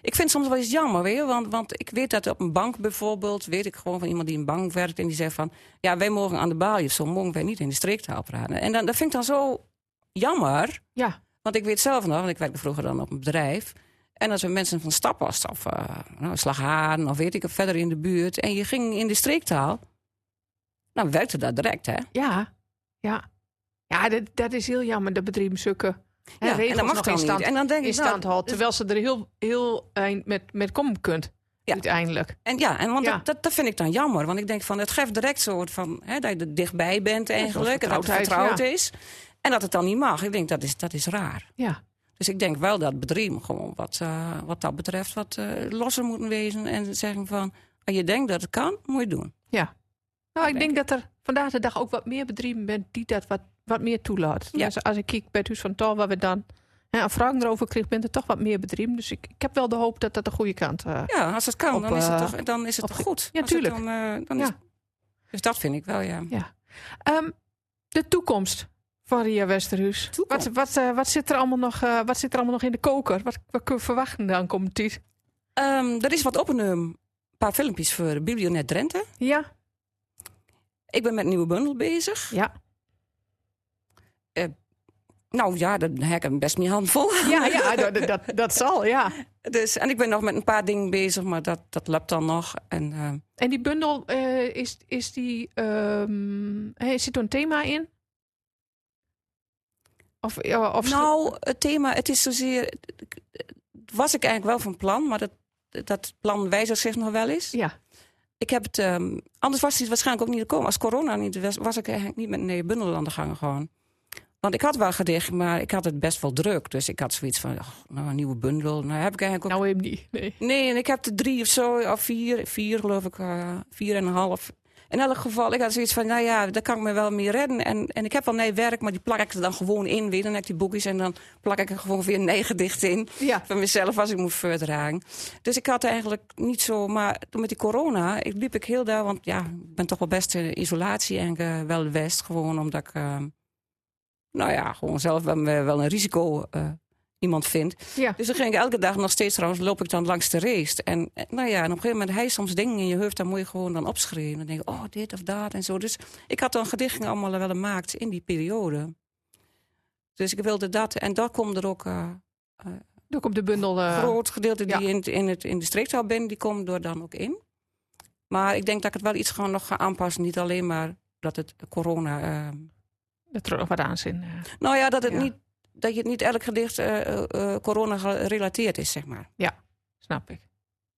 [SPEAKER 1] Ik vind het soms wel eens jammer, weet je, want, want ik weet dat op een bank bijvoorbeeld, weet ik gewoon van iemand die in een bank werkt en die zegt van, ja, wij mogen aan de balie of zo, mogen wij niet in de streektaal praten. En dan, dat vind ik dan zo jammer,
[SPEAKER 2] Ja.
[SPEAKER 1] want ik weet zelf nog, want ik werkte vroeger dan op een bedrijf. En als we mensen van Staphorst of eh nou, Slagharen of weet ik het, verder in de buurt. En je ging in de streektaal. Nou, werkte dat direct, hè?
[SPEAKER 2] Ja, ja. Ja, dat, dat is heel jammer, dat bedrijven zulke hè,
[SPEAKER 1] Ja, en
[SPEAKER 2] regels
[SPEAKER 1] dat mag
[SPEAKER 2] nog
[SPEAKER 1] dan
[SPEAKER 2] in stand,
[SPEAKER 1] niet. En dan denk
[SPEAKER 2] in
[SPEAKER 1] ik, nou,
[SPEAKER 2] stand houden. Terwijl ze er heel, heel eind met, met komen kunt,
[SPEAKER 1] Ja.
[SPEAKER 2] uiteindelijk.
[SPEAKER 1] En ja, en want
[SPEAKER 2] Ja.
[SPEAKER 1] Dat, dat, dat vind ik dan jammer. Want ik denk van, het geeft direct soort van... Hè, dat je er dichtbij bent eigenlijk. en dat het
[SPEAKER 2] vertrouwdheid,
[SPEAKER 1] vertrouwd is. En dat het dan niet mag. Ik denk, dat is, dat is raar.
[SPEAKER 2] Ja, Nou,
[SPEAKER 1] Dus ik denk wel dat bedrijven gewoon wat, eh, wat dat betreft... wat eh, losser moeten wezen en zeggen van... als je denkt dat het kan, moet je het doen.
[SPEAKER 2] ja. Nou, ik
[SPEAKER 1] denk
[SPEAKER 2] denk dat er vandaag de dag ook wat meer bedrijven bent die dat wat, wat meer toelaat.
[SPEAKER 1] Ja.
[SPEAKER 2] Dus als ik kijk bij het Huis van Tal, waar we dan hè, een vraag erover kregen, bent er toch wat meer bedrijven. Dus ik, ik heb wel de hoop dat dat de goede kant... eh,
[SPEAKER 1] Ja, als het kan,
[SPEAKER 2] Op,
[SPEAKER 1] dan is het
[SPEAKER 2] eh,
[SPEAKER 1] toch, dan is het
[SPEAKER 2] op
[SPEAKER 1] toch
[SPEAKER 2] ge-
[SPEAKER 1] goed.
[SPEAKER 2] Ja,
[SPEAKER 1] Als het
[SPEAKER 2] tuurlijk.
[SPEAKER 1] Dan, eh, dan is,
[SPEAKER 2] Ja.
[SPEAKER 1] Dus dat vind ik wel, ja.
[SPEAKER 2] Ehm, de toekomst van Ria Westerhuis.
[SPEAKER 1] Toekomst.
[SPEAKER 2] Wat, wat, eh, wat, zit er allemaal nog, eh, wat zit er allemaal nog in de koker? Wat, wat kunnen we verwachten dan komt dit?
[SPEAKER 1] Ehm, er is wat opgenomen. Een paar filmpjes voor Biblionet Drenthe.
[SPEAKER 2] Ja,
[SPEAKER 1] Ik ben met een nieuwe bundel bezig.
[SPEAKER 2] ja.
[SPEAKER 1] Nou ja, daar heb ik best mijn hand vol.
[SPEAKER 2] ja, ja dat, dat, dat zal, ja.
[SPEAKER 1] Dus, en ik ben nog met een paar dingen bezig, maar dat, dat loopt dan nog. En, ehm,
[SPEAKER 2] En die bundel, eh, is, is die, ehm, hey, zit er een thema in? Of, ja, of
[SPEAKER 1] nou, het thema, het is zozeer... Was ik eigenlijk wel van plan, maar dat, dat plan wijzigt zich nog wel eens.
[SPEAKER 2] ja,
[SPEAKER 1] Ik heb het, ehm, anders was hij waarschijnlijk ook niet gekomen. Als corona niet was, was ik eigenlijk niet met een hele bundel aan de gang gewoon. Want ik had wel gedicht, maar ik had het best wel druk. Dus ik had zoiets van, ach, nou, een nieuwe bundel. Nou, heb ik eigenlijk ook...
[SPEAKER 2] nou even niet. Nee.
[SPEAKER 1] Nee, en ik heb er drie of zo, of vier, vier geloof ik, eh, vier en een half. In elk geval, ik had zoiets van, nou ja, daar kan ik me wel mee redden. En, en ik heb wel nee werk, maar die plak ik er dan gewoon in weer. Dan heb ik die boekjes en dan plak ik er gewoon weer nee gedicht in
[SPEAKER 2] Ja,
[SPEAKER 1] van mezelf als ik moet verdragen. Dus ik had eigenlijk niet zo. Maar toen met die corona ik liep ik heel daar. Want ja, ik ben toch wel best in isolatie en eh, wel west. Gewoon omdat ik. eh, nou ja, gewoon zelf wel, wel een risico eh, iemand vind.
[SPEAKER 2] ja.
[SPEAKER 1] Dus dan ging ik elke dag nog steeds trouwens loop ik dan langs de race. En eh, nou ja, en op een gegeven moment hij soms dingen in je hoofd, dan moet je gewoon dan opschrijven. Dan denk je, oh, dit of dat en zo. Dus ik had dan gedichten allemaal wel gemaakt in die periode. Dus ik wilde dat. En daar komt er ook eh,
[SPEAKER 2] Daar komt de bundel. eh,
[SPEAKER 1] een groot gedeelte die
[SPEAKER 2] ja.
[SPEAKER 1] in, het- in, het, in de streektaal ben, die komen er dan ook in. Maar ik denk dat ik het wel iets gewoon nog ga aanpassen. Niet alleen maar dat het corona. eh,
[SPEAKER 2] dat er ook wat aan zin. eh.
[SPEAKER 1] nou ja, dat, het
[SPEAKER 2] Ja.
[SPEAKER 1] Niet, dat je het niet elk gedicht eh, eh, eh, corona gerelateerd is, zeg maar.
[SPEAKER 2] Snap ik.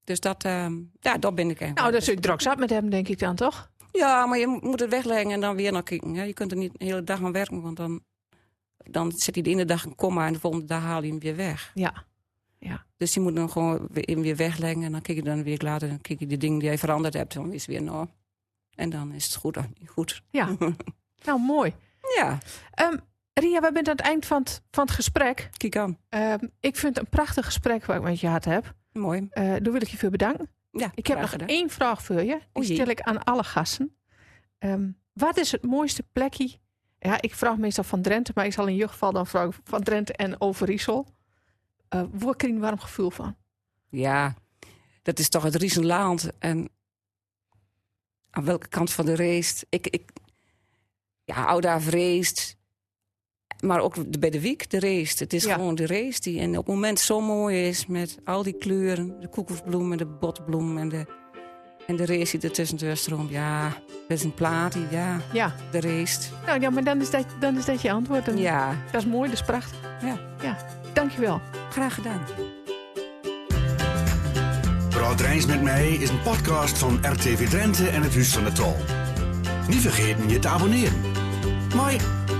[SPEAKER 1] Dus dat, eh, ja, dat ben ik eigenlijk.
[SPEAKER 2] Nou,
[SPEAKER 1] wel.
[SPEAKER 2] dat is ook drokzat met hem, denk ik dan toch?
[SPEAKER 1] Ja, maar je mo- moet het wegleggen en dan weer naar kijken. Hè. Je kunt er niet de hele dag aan werken, want dan, dan zit hij de ene dag een komma en de volgende dag haal je hem weer weg.
[SPEAKER 2] Ja.
[SPEAKER 1] Dus je moet hem gewoon weer, hem weer wegleggen en dan kijk je dan weer later dan kijk je de dingen die je veranderd hebt, dan is het weer nou. En dan is het goed. of niet goed.
[SPEAKER 2] Ja. nou, mooi.
[SPEAKER 1] Ja,
[SPEAKER 2] Ehm, Ria, we bent aan het eind van het, van het gesprek.
[SPEAKER 1] kijk aan.
[SPEAKER 2] Ehm, ik vind het een prachtig gesprek wat ik met je had heb.
[SPEAKER 1] Mooi.
[SPEAKER 2] Eh daar wil ik je voor bedanken.
[SPEAKER 1] Ja,
[SPEAKER 2] Ik heb
[SPEAKER 1] graag
[SPEAKER 2] nog
[SPEAKER 1] gedaan.
[SPEAKER 2] één vraag voor je. Die
[SPEAKER 1] O jee.
[SPEAKER 2] stel ik aan alle gasten. Ehm, wat is het mooiste plekje? Ja, ik vraag meestal van Drenthe, maar ik zal in je geval dan vragen van Drenthe en Overijssel. Eh waar krijg je een warm gevoel van?
[SPEAKER 1] Ja, dat is toch het Riesenland. En aan welke kant van de race? Ik, ik, ja, Ouda vreest. Maar ook de- bij de wiek, de race. Het is
[SPEAKER 2] Ja.
[SPEAKER 1] gewoon de race die en op het moment zo mooi is. Met al die kleuren. De koekoefbloem en de botbloem en de, en de race die ertussen doorstroomt. Ja, dat is een plaat. die- Ja,
[SPEAKER 2] Ja,
[SPEAKER 1] de race.
[SPEAKER 2] nou ja, maar dan is dat, dan is dat je antwoord. En
[SPEAKER 1] Ja,
[SPEAKER 2] Dat is mooi, dat is prachtig.
[SPEAKER 1] Ja.
[SPEAKER 2] ja. Dankjewel.
[SPEAKER 1] graag gedaan.
[SPEAKER 3] Praat Rijns met mij is een podcast van RTV Drenthe en het Huis van de Tal. Niet vergeten je te abonneren. Moi!